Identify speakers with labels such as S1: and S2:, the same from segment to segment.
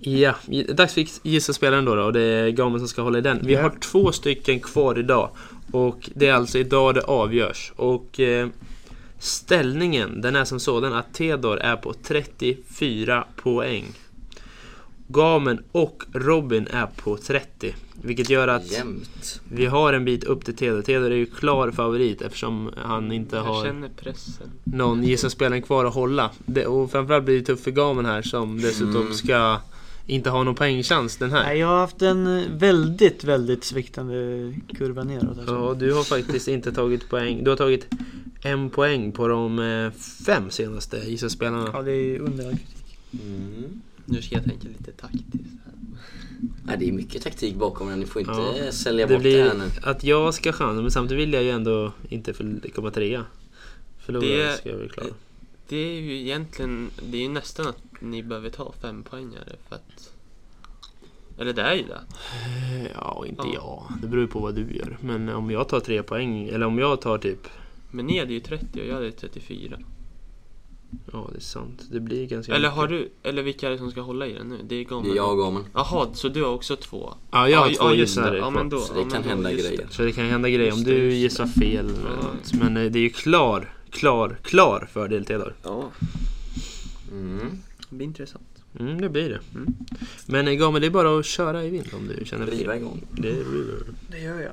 S1: Ja, dags för gissa-spelaren då, då och det är Gamen som ska hålla i den. Vi
S2: Ja.
S1: har två stycken kvar idag och det är alltså idag det avgörs. Och eh, ställningen den är som sådan att Tedor är på 34 poäng. Gamen och Robin är på 30. Vilket gör att
S3: Jämnt.
S1: vi har en bit upp till Tedor. Tedor är ju klar favorit eftersom han inte
S2: Mm, Jag
S1: har
S2: känner pressen.
S1: någon gissa-spelaren kvar att hålla. Det, och framförallt blir det tufft för Gamen här som dessutom
S3: Mm.
S1: ska inte ha någon poängchans den här.
S4: Nej, jag har haft en eh, väldigt, väldigt sviktande kurva neråt. Alltså.
S1: Ja, du har faktiskt inte tagit poäng. Du har tagit en poäng på de eh, fem senaste gissa-spelarna.
S4: Ja, det är under all kritik.
S3: Mm.
S2: Nu ska jag tänka lite taktiskt. här.
S3: Ja, det är mycket taktik bakom den. Ni får inte
S1: Ja.
S3: eh, sälja
S1: Det
S3: bort det
S1: blir
S3: här nu.
S1: att jag ska chansa, men samtidigt vill jag ju ändå inte förl- komma trea. Förlora
S2: Det-
S1: ska jag väl klara.
S2: Det är ju egentligen, det är ju nästan att ni behöver ta fem poängare för att... Eller det är ju det.
S1: Eh, Ja, inte
S2: Ja.
S1: jag. Det beror ju på vad du gör. Men om jag tar tre poäng, eller om jag tar typ...
S2: Men ni hade ju 30 och jag hade ju 34.
S1: Ja, det är sant. Det blir ganska...
S2: Eller
S1: mycket.
S2: har du, eller vilka är det som ska hålla i den nu? Det är
S3: Det är
S2: Gamen.
S3: jag och Gamen.
S2: Jaha, så du har också två?
S1: Ja, jag har
S2: ja,
S1: två
S2: just det.
S1: gissare
S2: Ja,
S1: kvar.
S2: men då.
S3: Så det
S2: ja, men
S3: kan
S2: då,
S3: hända
S2: just det.
S3: grejer.
S1: Så det kan hända grejer om
S2: Just det,
S1: du
S2: just det.
S1: gissar fel. eller
S2: Ja.
S1: något. Men eh, det är ju klar, klar, klar fördel till Edvard.
S2: Ja,
S3: Mm.
S2: det blir intressant.
S1: Mm, det blir det.
S2: Mm.
S1: Men eh, Gamen, det är bara att köra i vind om du känner för
S3: Riva
S1: det.
S3: igång.
S1: Det är river,
S4: Det gör jag.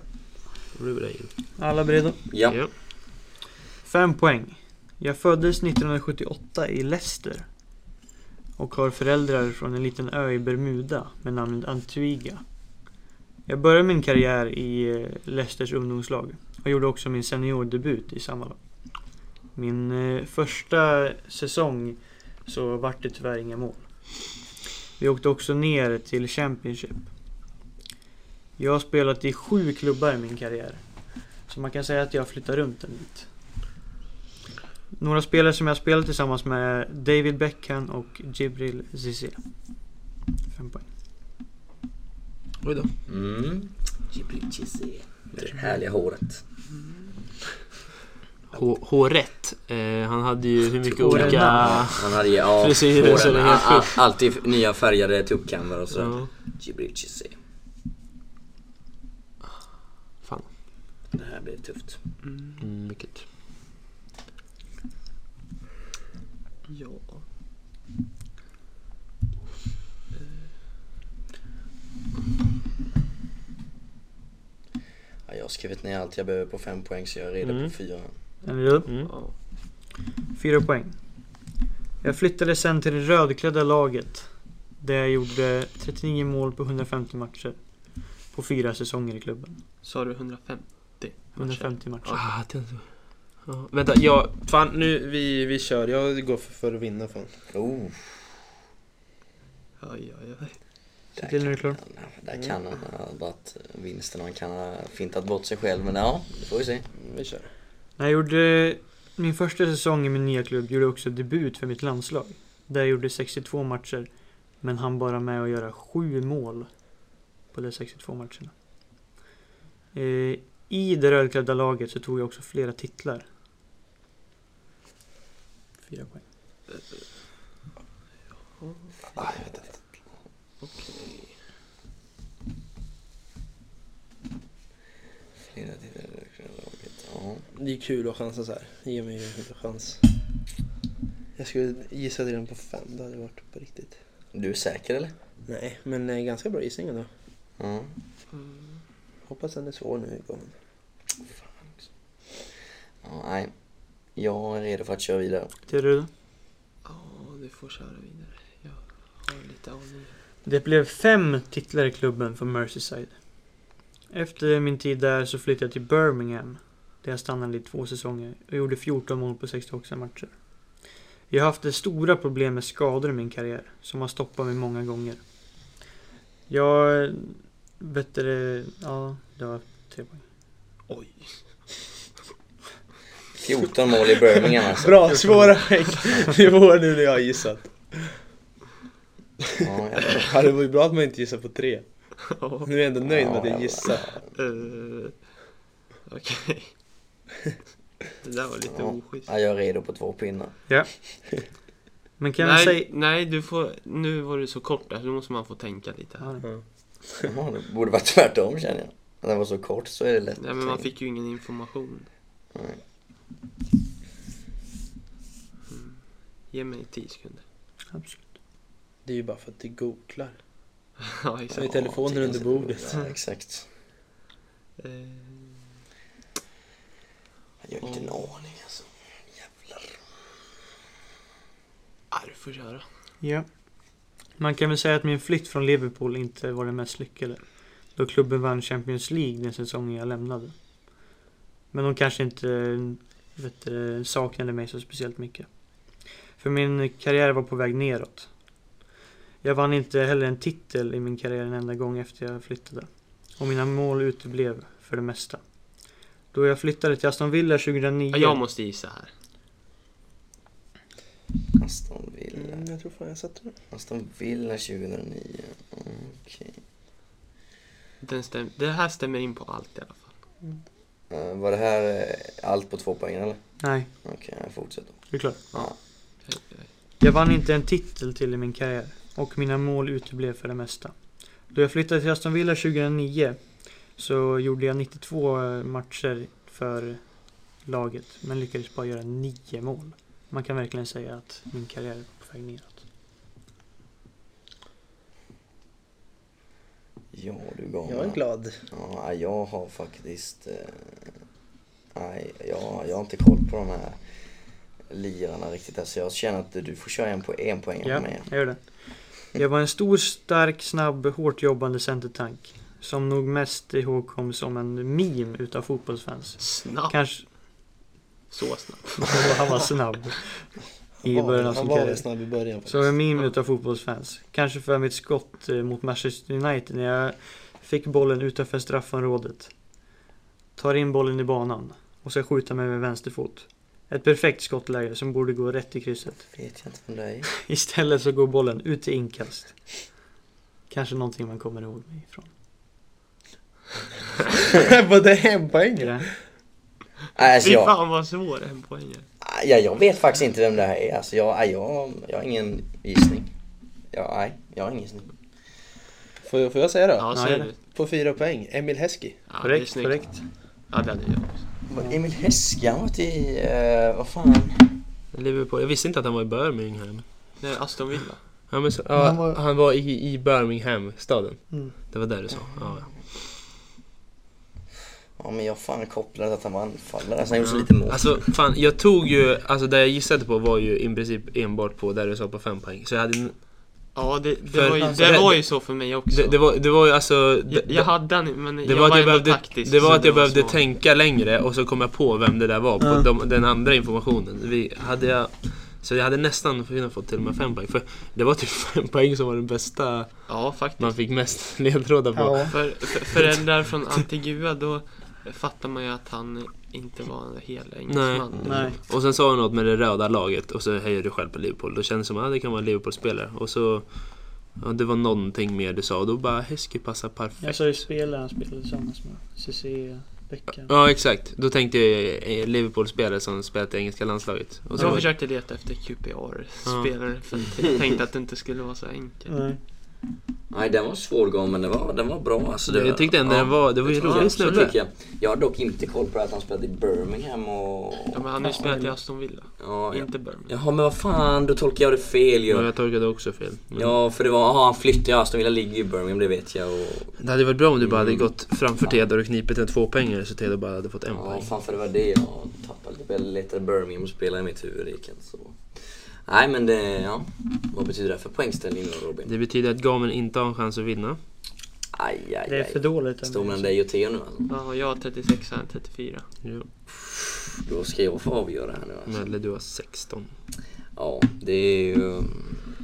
S1: river
S4: Alla beredda?
S3: Ja.
S1: Ja.
S4: Fem poäng. Jag föddes 1978 i Leicester. Och har föräldrar från en liten ö i Bermuda med namnet Antigua. Jag började min karriär i eh, Leicesters ungdomslag och gjorde också min seniordebut i samma lag. Min eh, första säsong så vart det tyvärr inga mål. Vi åkte också ner till Championship. Jag har spelat i sju klubbar i min karriär. Så man kan säga att jag flyttar runt en bit. Några spelare som jag spelat tillsammans med är David Beckham och Gibril Zizé. Fem poäng.
S1: Oj då.
S3: Mm. Chibrichisi. Med det härliga håret.
S1: H- Håret. Eh, han hade ju hur mycket
S4: Håret.
S1: olika...
S3: Han hade ju... Ja,
S1: Frisyrer,
S3: håren.
S1: så det är helt
S3: Ah, ah,
S1: sjukt.
S3: Alltid nya färgade tuppkammar och så.
S1: Ja.
S3: Chibrichisi.
S1: Fan.
S3: Det här blir tufft.
S1: Mm, mycket.
S2: Ja.
S3: Ja, jag har skrivit ner allt jag behöver på fem poäng så jag är redo
S1: Mm.
S3: på fyra.
S4: Är ni redo?
S1: Mm.
S2: ja.
S4: Fyra poäng. Jag flyttade sen till det rödklädda laget. Där jag gjorde 39 mål på 150 matcher. På fyra säsonger i klubben.
S2: Sa du 105?
S4: 150 matcher.
S1: Ah, det... ja. Vänta, jag... Fan, nu vi, vi kör. Jag går för, för att vinna. Fan.
S3: Oh,
S2: Oj, oj, oj.
S4: Se till när du är klar.
S3: där
S1: Mm.
S3: kan han ha dragit vinsten och han kan ha fintat bort sig själv. Men ja, det får vi se.
S1: Vi kör.
S4: När jag gjorde min första säsong i min nya klubb gjorde jag också debut för mitt landslag. Där jag gjorde 62 matcher. Men han bara med att göra 7 mål på de 62 matcherna. Eh, I det rödklädda laget så tog jag också flera titlar. Fyra poäng.
S3: Flera titlar i laget. Ja.
S1: Det är kul att chansa så här. Ge mig en chans. Jag skulle gissa till den på fem. Det hade varit på riktigt.
S3: Du är säker eller?
S1: Nej, men eh, ganska bra gissning ändå.
S3: Ja.
S1: Hoppas den är svår nu. Gamen.
S3: ja. Nej. Jag är redo för att köra vidare.
S4: Till du?
S2: Ja, du får köra vidare. Jag har lite aning.
S4: Det blev fem titlar i klubben för Merseyside. Efter min tid där så flyttade jag till Birmingham. Där jag stannade i två säsonger och gjorde 14 mål på 68 matcher. Jag har haft det stora problem med skador i min karriär som har stoppat mig många gånger. Jag... Vet du det? Ja, det var tre poäng.
S2: Oj.
S3: 14 mål i Birmingham alltså.
S1: Bra, svåra skägg. Det var nu när jag har gissat.
S3: Ja, jag
S1: Ja, det var ju bra att man inte gissade på tre.
S2: Ja.
S1: Nu är jag ändå nöjd med att jag
S3: Ja,
S1: gissade.
S2: Eh, Okej. Det där var lite
S3: Ja.
S2: oschysst.
S3: Ja, jag är redo på två pinnar.
S4: Men kan jag
S2: nej,
S4: säga...
S2: nej, du får... Nu var du så kort där, så nu måste man få tänka lite. Här.
S4: Ja,
S3: Ja, det borde vara tvärtom känner jag. När den var så kort så är det lätt.
S2: Nej, men man fick ju ingen information.
S3: Nej.
S2: Mm. Ge mig 10 sekunder.
S4: absolut.
S5: Det är ju bara för att du googlar.
S2: ja,
S5: Så är
S2: exakt.
S5: telefonen
S3: det
S5: under
S3: kanske det
S5: bordet.
S3: borde- Ja, exakt.
S2: Eh,
S3: Jag har inte en aning. alltså.
S2: ja, du får köra.
S4: Ja. Man kan väl säga att min flytt från Liverpool inte var den mest lyckade. Då klubben vann Champions League den säsongen jag lämnade. Men de kanske inte vet, du, saknade mig så speciellt mycket. För min karriär var på väg neråt. Jag vann inte heller en titel i min karriär en enda gång efter jag flyttade. Och mina mål uteblev för det mesta. Då jag flyttade till Aston Villa 2009...
S2: Ja, jag måste gissa här.
S3: Aston Villa.
S5: Mm, jag tror fan jag satte den.
S3: Aston Villa 2009. Mm, Okej.
S2: Den stäm, det här stämmer in på allt i alla fall.
S3: Eh, var det här eh, allt på två poäng eller?
S4: Nej,
S3: Okej, jag fortsätter.
S4: det är klart.
S2: Oj, oj.
S4: Jag vann inte en titel till i min karriär och mina mål uteblev för det mesta. Då jag flyttade till Aston Villa 2009 så gjorde jag 92 matcher för laget men lyckades bara göra 9 mål. Man kan verkligen säga att min karriär är på väg neråt.
S3: Ja, du gav
S5: Jag är
S3: mig.
S5: glad.
S3: Ja, jag har faktiskt... Eh, nej, jag, jag har inte koll på de här lirarna riktigt. Alltså jag känner att du får köra en, po en poäng
S4: Ja,
S3: på mig.
S4: jag gör det. Jag var en stor, stark, snabb, hårt jobbande centertank. Som nog mest ihågkoms som en meme utav fotbollsfans.
S2: Snabbt.
S4: Kanske...
S2: Så snabbt.
S4: Han var snabb. I
S5: Han var-
S4: början
S5: Han
S4: av sin
S5: var
S4: karriär.
S5: väl snabb i början
S4: Så en
S5: faktiskt.
S4: meme utav fotbollsfans. Kanske för mitt skott eh, mot Manchester United när jag fick bollen utanför straffområdet. Tar in bollen i banan och sen skjuta mig med vänster fot. Ett perfekt skottläge som borde gå rätt i krysset.
S3: Vet jag inte vem det är.
S4: Istället så går bollen ut i inkast. Kanske någonting man kommer ihåg mig ifrån.
S5: Var det en poäng?
S4: Är det?
S3: Nej, alltså
S2: Fy
S3: jag,
S2: fan vad svår en poäng är.
S3: ja, jag vet faktiskt inte vem det här är. Alltså jag, nej, jag, jag har ingen gissning. Ja, nej, jag har ingen gissning.
S5: Får jag, får jag säga då?
S2: Ja,
S4: Ja,
S2: säg
S4: det är
S2: du.
S5: På fyra poäng, Emil Heskey.
S2: Ja, det är
S4: Korrekt,
S2: snyggt.
S4: korrekt.
S2: Ja, det hade jag också.
S4: Mm.
S3: Var Emil Heskey, han var inte i... eh, vad fan?
S1: Liverpool. Jag visste inte att han var i Birmingham.
S2: Nej, Aston Villa.
S1: Ja, men så,
S4: Men
S1: ja,
S4: han
S1: han,
S4: var-
S1: var... i, i Birmingham-staden.
S4: Mm.
S1: Det var där du sa. Ja, ja.
S3: Ja, men jag fan kopplade att han var anfallare. Alltså han gjorde så lite mål.
S1: Alltså fan, jag tog ju, alltså det jag gissade på var ju i princip enbart på där du sa på fem poäng. Så jag hade,
S2: Ja, det, det,
S1: För-
S2: var, ju,
S1: alltså,
S2: det
S1: det-
S2: var ju så för mig också.
S1: det, det, var, det var ju alltså... Det,
S2: jag, jag hade den, men
S1: det
S2: jag
S1: var
S2: var,
S1: att jag
S2: ändå
S1: behövde,
S2: taktisk.
S1: det
S2: så
S1: var att jag behövde
S2: smart.
S1: tänka längre och så kom jag på vem det där var på
S4: Ja.
S1: de, den andra informationen. Vi, hade jag, så jag hade nästan kunnat få till och med fem poäng. För det var typ fem poäng som var den bästa
S2: Ja, faktiskt.
S1: man fick mest ledtrådar på.
S4: Ja.
S2: För, för föräldrar från Antigua, då fattar man ju att han inte var en hel engelsman.
S4: Nej.
S1: Och sen sa du något med det röda laget och så hejar du själv på Liverpool. Då kändes det som att ah, det kan vara en Liverpool-spelare. Och så... Ja, det var någonting mer du sa och då bara Husky passar perfekt.
S4: Jag sa ju spelare han spelade tillsammans med. CC Beckham.
S1: Ja exakt, då tänkte jag eh, Liverpool-spelare som spelat i engelska landslaget. Och så
S2: Jag försökte leta efter QPR-spelare för att jag tänkte att det inte skulle vara så enkelt.
S4: Nej.
S3: Nej, den var svårgången, men den var, den var bra. Alltså, det,
S1: Jag tyckte ändte den var, det var ju en
S3: Ja,
S1: rolig
S3: så tycker
S1: snubbe.
S3: jag. Jag har dock inte koll på det att han spelade i Birmingham och...
S2: Ja, men han har ju spelat i Aston Villa,
S3: Ja, ja.
S2: inte Birmingham.
S3: Jaha, men vad fan, då tolkar jag det fel
S1: Ja,
S3: ju.
S1: jag tolkade också fel. Men
S3: Ja, för det var, aha, han flyttade, ja, Aston Villa ligger ju i Birmingham, det vet jag. Och,
S1: Det hade varit bra om du bara hade gått framför Theodor och knipit en tvåpoängare så Theodor bara hade fått en
S3: Mm. ja,
S1: poäng.
S3: fan för det var det jag tappade lite. Jag letade Birmingham och spelade i mitt huvud, det gick inte så. Nej, men det, ja. Vad betyder det för poängställning då, Robin?
S1: Det betyder att Gamen inte har en chans att vinna.
S3: Aj, aj,
S4: Det är för
S3: aj.
S4: dåligt.
S3: Står mellan dig och Theo nu alltså.
S2: Ja, jag har 36 han har 34.
S1: Ja.
S3: Då ska jag få avgöra här nu alltså.
S1: Eller du har 16.
S3: Ja, det är ju...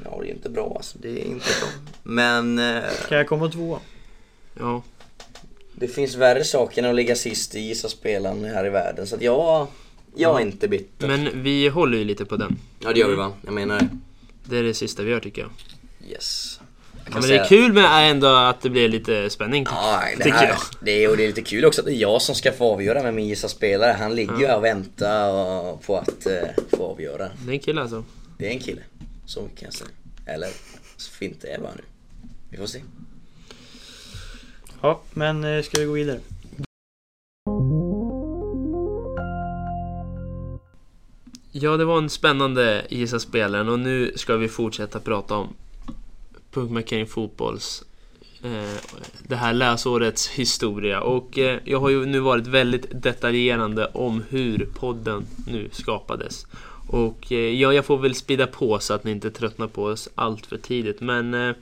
S3: Ja, det är inte bra alltså. Det är inte bra. Men... eh,
S4: Kan jag komma två?
S1: Ja,
S3: Det finns värre saker än att ligga sist i Gissa spelaren här i världen. Så att jag... Jag är inte bitter.
S1: Mm. men vi håller ju lite på den.
S3: Ja, det gör vi va? Jag menar det.
S1: Det är det sista vi gör tycker jag.
S3: Yes. Jag
S1: Ja,
S3: kan
S1: men det
S3: säga-
S1: är kul med äh, ändå att det blir lite spänning.
S3: Ja, det,
S1: tycker
S3: här,
S1: jag.
S3: det, är, och det är lite kul också att det är jag som ska få avgöra med min gissa spelare.
S1: Mm.
S3: Han ligger ju här och väntar och- på att eh, få avgöra.
S1: Det är en kille alltså.
S3: Det är en kille. Så mycket kan jag säga. Eller, så fint det är bara nu. Vi får se.
S4: Ja, men eh, ska vi gå vidare?
S1: Ja, det var en spännande gissa-spelaren och nu ska vi fortsätta prata om Punk McCain Fotbolls eh, det här läsårets historia. Och eh, jag har ju nu varit väldigt detaljerande om hur podden nu skapades. Och eh, ja, jag får väl spida på så att ni inte tröttnar på oss allt för tidigt. Men eh,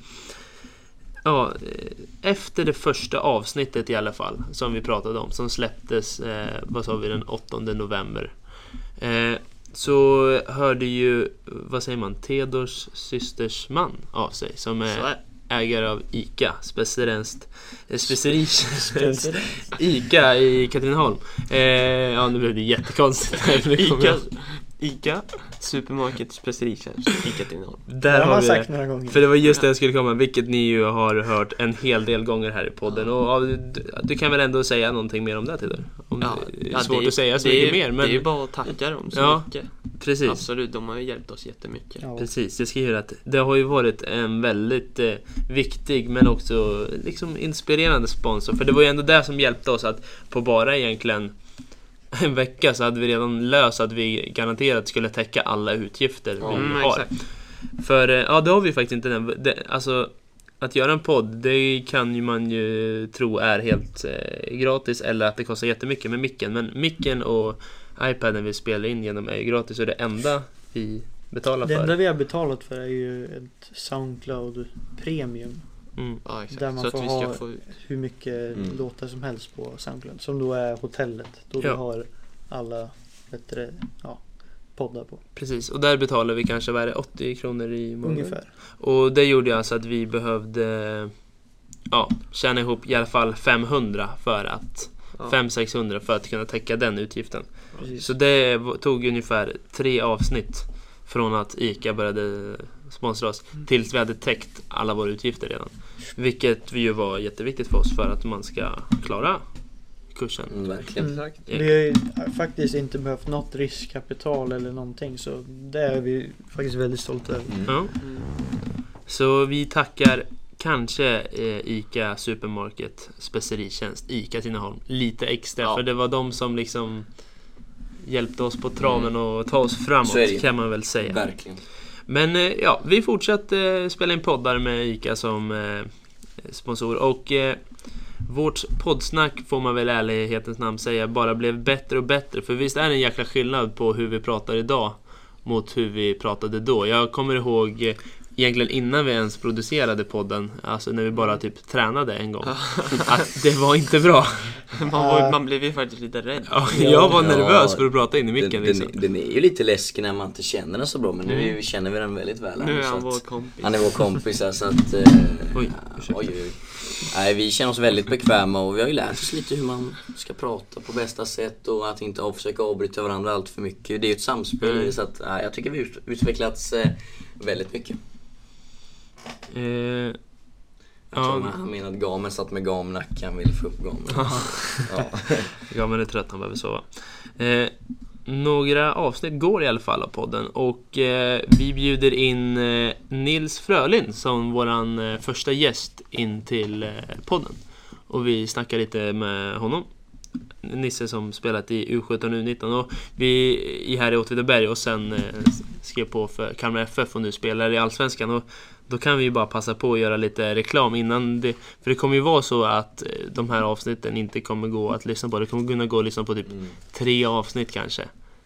S1: ja, eh, efter det första avsnittet i alla fall, som vi pratade om, som släpptes, eh, vad sa vi, den 8 november. Eh, så hörde ju, vad säger man, Tedors systers man av sig som
S2: Så
S1: är
S2: är
S1: ägare av ICA, specialist, eh, specialist ICA i Katrineholm. Eh, ja, nu blev det jättekonstigt. här, för det kommer
S2: Ica,
S1: jag-
S2: Ica Supermarket Specerikärns, Ica Katrineholm.
S1: Där
S4: det har
S1: har
S4: man
S1: vi
S4: sagt
S1: det.
S4: några gånger.
S1: För det var just det jag skulle komma, vilket ni ju har hört en hel del gånger här i podden. Och ja, du, du kan väl ändå säga någonting mer om det Tidor? Om det är svårt
S2: ju-
S1: att säga så
S2: det
S1: mycket
S2: är,
S1: mer, men
S2: Det är ju bara att tacka dem så
S1: Ja,
S2: mycket.
S1: precis.
S2: Absolut, de har ju hjälpt oss jättemycket.
S4: Ja.
S1: Precis, jag skriver att det har ju varit en väldigt eh, viktig men också liksom inspirerande sponsor. För det var ju ändå det som hjälpte oss att på bara egentligen en vecka så hade vi redan löst att vi garanterat skulle täcka alla utgifter vi
S2: Mm,
S1: har.
S2: exakt.
S1: För eh, ja, det har vi faktiskt inte. Den, det, alltså, att göra en podd, det kan ju man ju tro är helt eh, gratis eller att det kostar jättemycket med micken. Men micken och iPaden vi spelar in genom är ju gratis och det enda vi betalar
S4: Det
S1: för.
S4: enda vi har betalat för är ju ett Soundcloud Premium.
S1: Mm.
S2: Ja, exakt.
S4: Där man
S2: så att
S4: får
S2: vi ska
S4: ha-
S2: få ut.
S4: Hur mycket
S3: Mm.
S4: låtar som helst på Soundcloud. Som då är hotellet. Då vi
S1: Ja.
S4: har alla bättre ja, poddar på.
S1: Precis, och där betalar vi kanske, vad är det, 80 kronor i månaden?
S4: Ungefär.
S1: Och det gjorde ju alltså att vi behövde ja, tjäna ihop i alla fall 500 för att
S2: Ja.
S1: 500-600 för att kunna täcka den utgiften.
S4: Precis.
S1: Så det v- tog ungefär tre avsnitt från att ICA började sponsra oss
S4: Mm.
S1: tills vi hade täckt alla våra utgifter redan. Vilket ju var jätteviktigt för oss för att man ska klara kursen.
S3: Mm, verkligen.
S4: Mm.
S2: Exakt.
S4: Vi har ju faktiskt inte behövt något riskkapital eller någonting så det är vi faktiskt väldigt stolta över.
S3: Mm.
S1: Ja.
S2: Mm.
S1: Så vi tackar kanske eh, ICA Supermarket Speceritjänst, ICA Tineholm, lite extra.
S2: Ja.
S1: För det var de som liksom hjälpte oss på traven och ta oss framåt
S3: Mm. Så är det ju.
S1: kan man väl säga.
S3: Verkligen.
S1: Men eh, ja, vi fortsatte eh, spela in poddar med ICA som eh, sponsor och eh, vårt poddsnack får man väl i ärlighetens namn säga bara blev bättre och bättre. För visst är det en jäkla skillnad på hur vi pratar idag mot hur vi pratade då. Jag kommer ihåg eh, egentligen innan vi ens producerade podden, alltså när vi bara
S3: Mm.
S1: typ tränade en gång, att det var inte bra.
S2: Man, var, man blev ju faktiskt lite rädd.
S1: Ja, Jag var
S3: Ja,
S1: nervös för att prata in i
S3: Den,
S1: micken liksom.
S3: den, den är ju lite läskig när man inte känner den så bra men nu är vi- känner vi den väldigt väl. här,
S2: Nu är
S3: så
S2: han
S3: att-
S2: vår kompis.
S3: Han är vår kompis här, så att... Eh,
S1: Oj,
S3: oj,
S1: ursäkta.
S3: oj, oj. Nej, vi känner oss väldigt bekväma och vi har ju lärt oss lite hur man ska prata på bästa sätt och att inte av- försöka avbryta varandra allt för mycket. Det är ju ett samspel
S1: Mm.
S3: så att nej, jag tycker vi har ut- utvecklats eh, väldigt mycket.
S1: Eh,
S3: Jag
S1: Ja.
S3: tror man, han menar att gamen satt med gamnack, han vill få upp gamen. Ja.
S1: Ja men det är trött, han behöver sova. Eh, några avsnitt går i alla fall av podden och eh, vi bjuder in eh, Nils Frölin som våran eh, första gäst in till eh, podden. Och vi snackar lite med honom. Nisse som spelat i U17 och U19 och vi är här i Åtvidaberg och sen eh, skrev på för Kalmar FF och nu spelar i Allsvenskan. Och då kan vi ju bara passa på att göra lite reklam innan det för det kommer ju vara så att eh, de här avsnitten inte kommer gå att lyssna på. Det kommer kunna gå att lyssna på typ
S3: Mm.
S1: tre avsnitt kanske.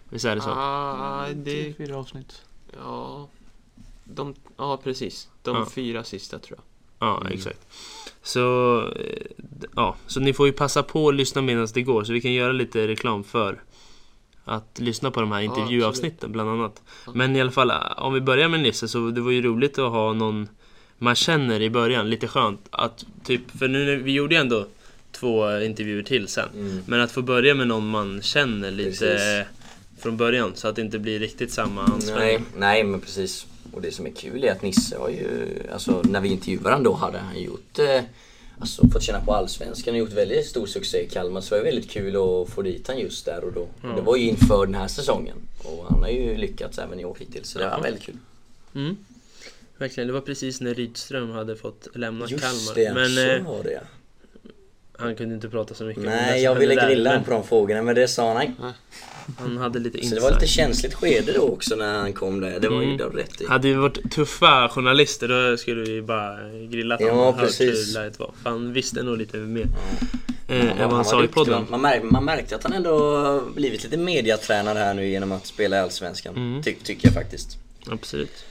S1: Visst är det så?
S2: Ah, det,
S4: Fyra avsnitt.
S2: ja. De, ja, precis. De
S1: Ja.
S2: fyra sista tror jag.
S1: Ja,
S3: Mm.
S1: exakt. Så, eh, d- ja, så ni får ju passa på att lyssna medan det går så vi kan göra lite reklam för att lyssna på de här
S2: Ja,
S1: intervjuavsnitten bland annat.
S2: Ja.
S1: Men i alla fall, eh, om vi börjar med Nisse så det var ju roligt att ha någon man känner i början. Lite skönt att typ, för nu när vi gjorde ju ändå två intervjuer till sen.
S3: Mm.
S1: Men att få börja med någon man känner lite
S3: Precis.
S1: från början så att det inte blir riktigt samma anspänning.
S3: Nej, nej men precis. Och det som är kul är att Nisse har ju, alltså när vi intervjuade honom då hade han gjort, eh, alltså fått känna på Allsvenskan och gjort väldigt stor succé i Kalmar. Så det var väldigt kul att få dit han just där och
S1: Mm.
S3: då. Och Det var ju inför den här säsongen. Och han har ju lyckats även i år hittills, så det var väldigt kul.
S1: Mm. Verkligen, det var precis när Rydström hade fått lämna
S3: Just
S1: Kalmar.
S3: det,
S1: Men eh,
S3: så var det ja.
S1: han kunde inte prata så mycket. om det
S3: Nej,
S1: som
S3: jag
S1: hände
S3: ville
S1: där,
S3: grilla
S1: men
S3: honom på de frågorna men det sa han nej.
S1: Han hade lite
S3: Så det
S1: insight.
S3: var lite känsligt skede då också när han kom där. Det var ju
S1: Mm.
S3: det har du rätt i.
S1: Hade vi varit tuffa journalister då skulle vi bara eh, grillat
S3: Ja,
S1: honom och hört
S3: precis.
S1: hur läget var. För han visste nog lite mer
S3: Ja.
S1: eh, än vad
S3: var
S1: han sa i
S3: duktig.
S1: podden.
S3: Man- Man, märk, man märkte att han ändå blivit lite mediatränad här nu genom att spela i Allsvenskan.
S1: Mm.
S3: Ty, tycker jag faktiskt.
S1: Absolut.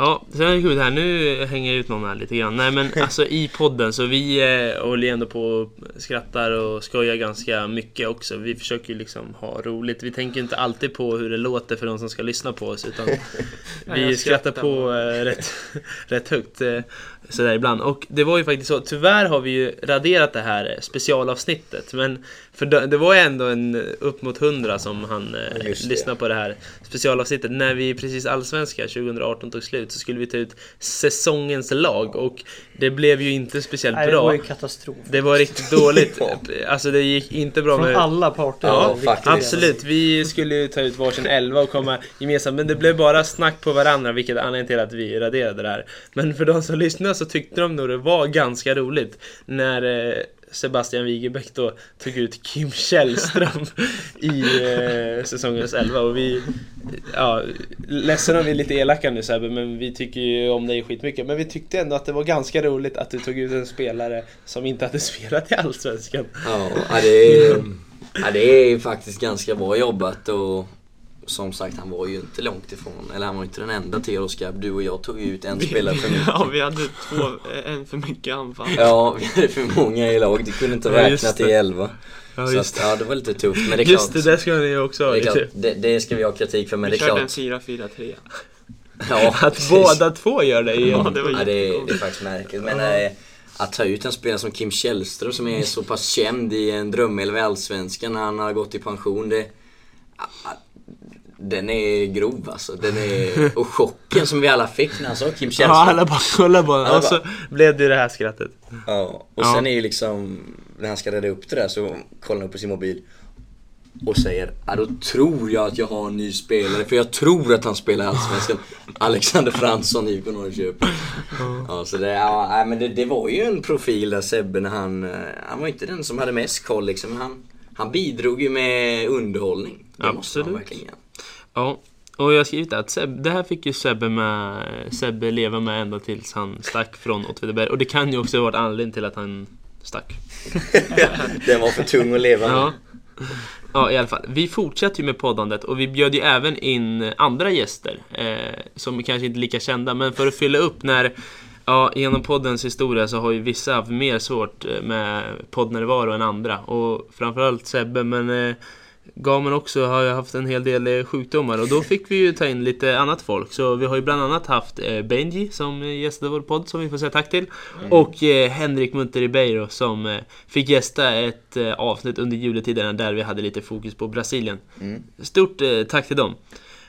S1: Ja, sen är det kul här. Nu hänger jag ut någon här lite grann. Nej men alltså i podden så vi eh, håller ju ändå på och skrattar och skojar ganska mycket också. Vi försöker ju liksom ha roligt. Vi tänker inte alltid på hur det låter för de som ska lyssna på oss utan
S2: Nej,
S1: vi
S2: jag
S1: skrattar
S2: skrattar
S1: på eh, rätt, rätt högt eh, sådär ibland. Och det var ju faktiskt så, tyvärr har vi ju raderat det här eh, specialavsnittet. Men för det, det var ju ändå en eh, upp mot 100 som han eh,
S3: Just det.
S1: lyssnade på det här specialavsnittet. När vi precis allsvenska 2018 tog slut så skulle vi ta ut säsongens lag och det blev ju inte speciellt
S4: Nej, det
S1: bra.
S4: var ju katastrof.
S1: Det var riktigt dåligt.
S3: Ja.
S1: Alltså det gick inte bra
S4: Från
S1: med
S4: alla parter.
S3: Ja,
S4: var det
S3: faktiskt.
S4: riktigt.
S1: Absolut, vi skulle ju ta ut varsin elva och komma gemensamt men det blev bara snack på varandra vilket är anledningen till att vi raderade det här. Men för de som lyssnade så tyckte de nog det var ganska roligt när eh, Sebastian Wigebäck då tog ut Kim Källström i eh, säsongens elva och vi, ja, ledsen om vi är lite elaka nu Sebbe men vi tycker ju om dig skitmycket men vi tyckte ändå att det var ganska roligt att du tog ut en spelare som inte hade spelat i Allsvenskan.
S3: Ja, ja, det är, ja, det är faktiskt ganska bra jobbat och som sagt han var ju inte långt ifrån. Eller han var ju inte den enda till Oskar. Du och jag tog ju ut en spelare för mycket.
S2: Ja, vi hade två, eh, en för mycket anfall.
S3: Ja, vi hade för många i lag. Du kunde inte
S1: Ja,
S3: räkna
S1: just
S3: till
S1: det.
S3: elva. så att, ja, det var lite tufft. Men det är
S1: Just det,
S3: klart.
S1: där ska ni ju också ha
S3: Det, är klart
S1: lite.
S3: det, det ska vi ha kritik för men det
S2: Vi
S3: är
S2: körde
S3: klart.
S2: en 4-4-3.
S3: Ja,
S1: Att
S3: precis.
S1: båda två gör det
S3: Ja,
S1: igen.
S2: det var
S3: ja, det, är, det
S2: jättekonstigt.
S3: är faktiskt märkligt. Men eh, att ta ut en spelare som Kim Källström som är så pass känd i en drömelva i Allsvenskan när han har gått i pension. Det, ah, ah, den är grov alltså. Den är, och chocken som vi alla fick när han sa Kim Källström.
S1: Ja, alla bara kollar på den.
S3: Alla
S1: Och så blev det ju det här skrattet.
S3: Ja, och
S1: Ja.
S3: sen är ju liksom, när han ska rädda upp det där så kollar han upp på sin mobil och säger ja då tror jag att jag har en ny spelare för jag tror att han spelar i Allsvenskan. Alexander Fransson, IFK Norrköping. Ja, så det, ja, nej, men det, det var ju en profil där Sebbe när han, eh, han var inte den som hade mest koll liksom. men Han, han bidrog ju med underhållning. Det måste han
S1: Absolut.
S3: verkligen göra.
S1: Ja, och jag har skrivit att Seb, det här fick ju Sebbe, med, Sebbe leva med ända tills han stack från Åtvidaberg. Och det kan ju också ha varit anledningen till att han stack.
S3: Den var för tung att leva med.
S1: Ja. ja, i alla fall. Vi fortsätter ju med poddandet och vi bjöd ju även in andra gäster eh, som kanske inte är lika kända, men för att fylla upp när Ja, genom poddens historia så har ju vissa haft mer svårt eh, med poddnärvaro än andra och framförallt Sebbe, men eh, Gamen också har ju haft en hel del eh, sjukdomar och då fick vi ju ta in lite annat folk. Så vi har ju bland annat haft eh, Benji som eh, gästade vår podd som vi får säga tack till. Och eh, Henrik Munter Ribeiro som eh, fick gästa ett eh, avsnitt under juletiderna där vi hade lite fokus på Brasilien. Stort eh, tack till dem.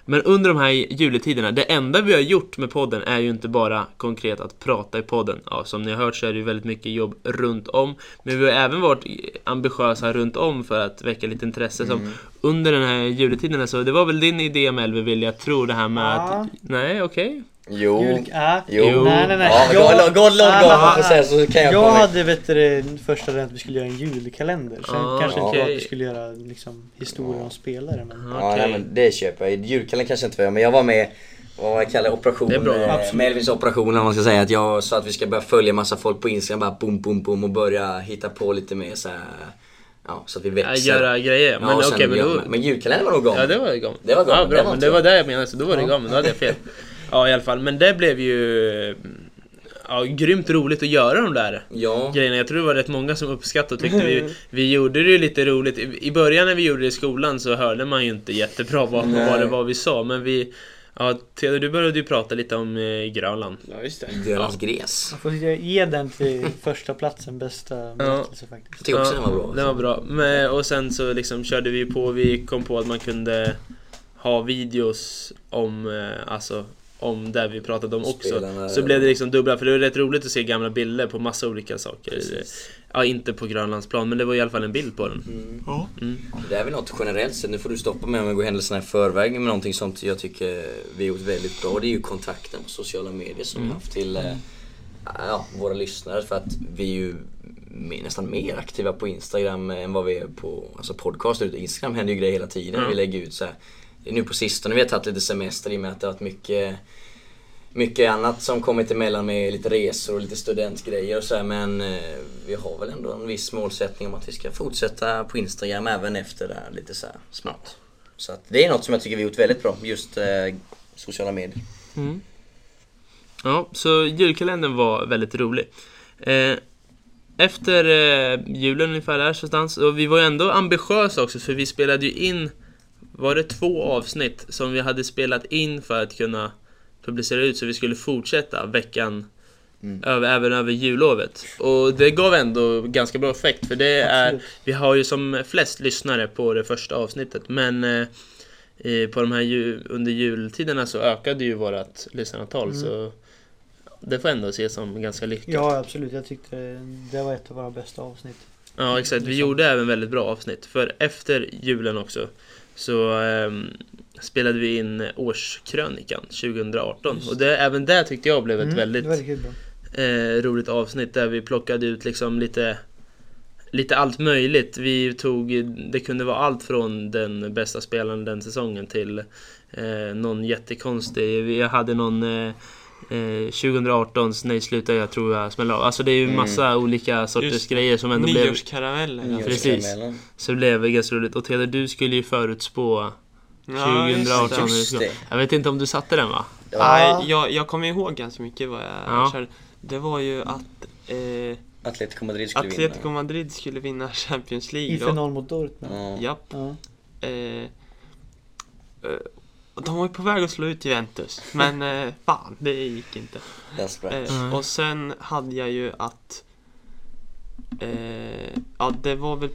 S1: Men under de här juletiderna, det enda vi har gjort med podden är ju inte bara konkret att prata i podden. Ja, som ni har hört så är det ju väldigt mycket jobb runt om. Men vi har även varit ambitiösa runt om för att väcka lite intresse. Som under den här juletiderna, så det var väl din idé Melvin, vill jag tro, det här med
S4: Ja.
S1: att... Nej, okej.
S3: Jo.
S4: Jul, ah,
S3: Jo.
S4: Nej, nej, nej.
S3: Ja, men
S4: Jag-
S3: gå- gå- gå- gå-
S4: Ah,
S3: gå- så- så kan jag
S4: jag
S3: komma in.
S4: hade vet du, det första att vi skulle göra en julkalender. Sen
S1: Ah,
S4: kanske inte
S1: okej.
S4: var att vi skulle göra liksom, historier om spelare. Men...
S1: Okej.
S3: Ja, nej, men det köper jag. Julkalendern kanske inte var jag, men jag var med vad jag kallar operation,
S1: Det är bra.
S3: eh,
S4: Absolut.
S3: Melvins operation eller vad man ska säga. Att jag sa att vi ska börja följa massa folk på Instagram, bara boom, boom, boom och börja hitta på lite mer så här, ja, så att vi
S1: Ja,
S3: växer.
S1: göra grejer.
S3: Ja,
S1: men
S3: och
S1: okej,
S3: sen
S1: men
S3: gör-
S1: då...
S3: men julkalendern var nog galen.
S1: Ja, det var ju gamen.
S3: Det var gamen,
S1: Ja, bra,
S3: det var
S1: men
S3: inte
S1: det var
S3: jag.
S1: det jag menade, så då var det gamen. Då hade jag fel. Ja, i alla fall. Men det blev ju... mm, Ja, grymt roligt att göra de där
S3: Ja,
S1: grejerna. Jag tror det var rätt många som uppskattade och tyckte vi, vi gjorde det ju lite roligt. I i början när vi gjorde det i skolan så hörde man ju inte jättebra vad, vad det var vi sa, men vi... Ja, Theodor, du började ju prata lite om eh, Grönland.
S2: Ja, just det.
S3: Grönlands gräs.
S4: Jag får ge den till första platsen bästa berättelse faktiskt.
S3: Jag tycker också den var bra.
S1: Den var bra. Men, och sen så liksom körde vi på, vi kom på att man kunde ha videos om eh, alltså, om det vi pratade om också.
S3: Spelarna-
S1: Så blev det liksom dubbla, för det var rätt roligt att se gamla bilder på massa olika saker. Ja, inte på Grönlandsplan, men det var i alla fall en bild på den.
S4: Ja.
S3: Det är väl något generellt sett, nu får du stoppa mig om jag går händelserna i förväg, men någonting sånt jag tycker vi har gjort väldigt bra, det är ju kontakten på sociala medier som vi har haft till eh, ja, våra lyssnare. För att vi är ju me- nästan mer aktiva på Instagram än vad vi är på alltså podcast. Ute. Instagram händer ju grejer hela tiden. Vi lägger ut så här. Det är nu på sistone vi har tagit lite semester i och med att det har varit mycket mycket annat som kommit emellan med lite resor och lite studentgrejer och så här, men eh, vi har väl ändå en viss målsättning om att vi ska fortsätta på Instagram även efter det här lite så här snart. Så att det är något som jag tycker vi har gjort väldigt bra, just eh, sociala medier.
S1: Ja, så julkalendern var väldigt rolig. Eh, efter eh, julen ungefär där någonstans, och vi var ju ändå ambitiösa också för vi spelade ju in, var det två avsnitt som vi hade spelat in för att kunna publicera ut så vi skulle fortsätta veckan över, även över jullovet. Och det gav ändå ganska bra effekt för det är, vi har ju som flest lyssnare på det första avsnittet men eh, i, på de här ju, under jultiderna så ökade ju vårat lyssnartal så det får ändå ses som ganska lyckat.
S4: Mm. ja, absolut. Jag tyckte det- det var ett av våra bästa avsnitt.
S1: Ja exakt,
S4: Liksom.
S1: vi gjorde även väldigt bra avsnitt. För efter julen också så ehm, spelade vi in årskrönikan 2018. Och det, även det tyckte jag blev ett
S4: Mm,
S1: väldigt
S4: Det var riktigt bra.
S1: eh, roligt avsnitt där vi plockade ut liksom lite Lite allt möjligt. Vi tog, det kunde vara allt från den bästa spelaren den säsongen till eh, någon jättekonstig. Vi hade någon eh, eh, 2018s Nej sluta jag tror jag smäller av. Alltså det är ju massa olika sorters
S2: Mm. Just det.
S1: grejer som ändå blev...
S2: Nyårskarameller.
S1: Precis. Så det blev ganska roligt. Och Peder, du skulle ju förutspå
S2: Ja, just det.
S1: 2018
S3: Just det.
S1: Jag vet inte om du satte den va?
S2: Nej, jag, jag kommer ihåg ganska mycket vad jag
S1: Ja.
S2: körde. Det var ju att eh,
S3: Atletico Madrid skulle
S2: Atletico
S3: vinna.
S2: Madrid skulle vinna Champions League.
S4: I
S2: då.
S4: final mot Dortmund.
S3: Ja.
S2: Japp.
S4: Ja.
S2: Eh, eh, och de var ju på väg att slå ut Juventus, men eh, fan, det gick inte.
S3: den sprack.
S2: Eh, och sen hade jag ju att... Eh, ja, det var väl...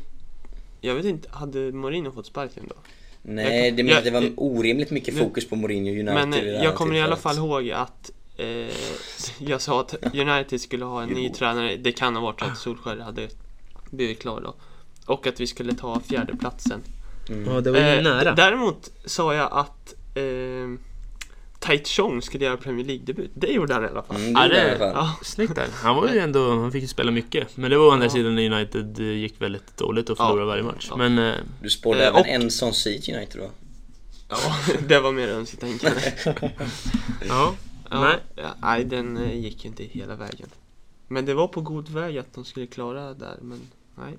S2: Jag vet inte, hade Mourinho fått sparken då?
S3: Nej, det,
S2: jag-
S3: det var orimligt mycket
S2: nu-
S3: fokus på Mourinho och United
S2: Men eh,
S3: i det här
S2: jag kommer i alla fall
S3: tillfället.
S2: ihåg att eh, jag sa att United skulle ha en ny tränare. Det kan ha varit så att Solskjaer hade blivit klar då. Och att vi skulle ta fjärdeplatsen.
S3: Mm.
S1: Ja, det var ju
S2: Eh, d-
S1: nära.
S2: Däremot sa jag att eh, Tai Chong skulle göra Premier League-debut. Det gjorde han i alla fall.
S3: Mm, det gjorde han i alla fall.
S2: ja,
S1: Snyggt där. Han var ju ändå, han fick ju spela mycket. Men det var å andra sidan när United eh, gick väldigt dåligt och förlorade
S2: Ja.
S1: varje match.
S2: Ja.
S1: Men eh,
S3: Du spårade
S2: Eh,
S3: även
S2: och-
S3: en sån seat United va?
S2: ja, det var mer önsketänkande.
S1: ja.
S2: Ja,
S1: Nej.
S2: ja, nej, den eh, gick ju inte hela vägen. Men det var på god väg att de skulle klara det där, men nej.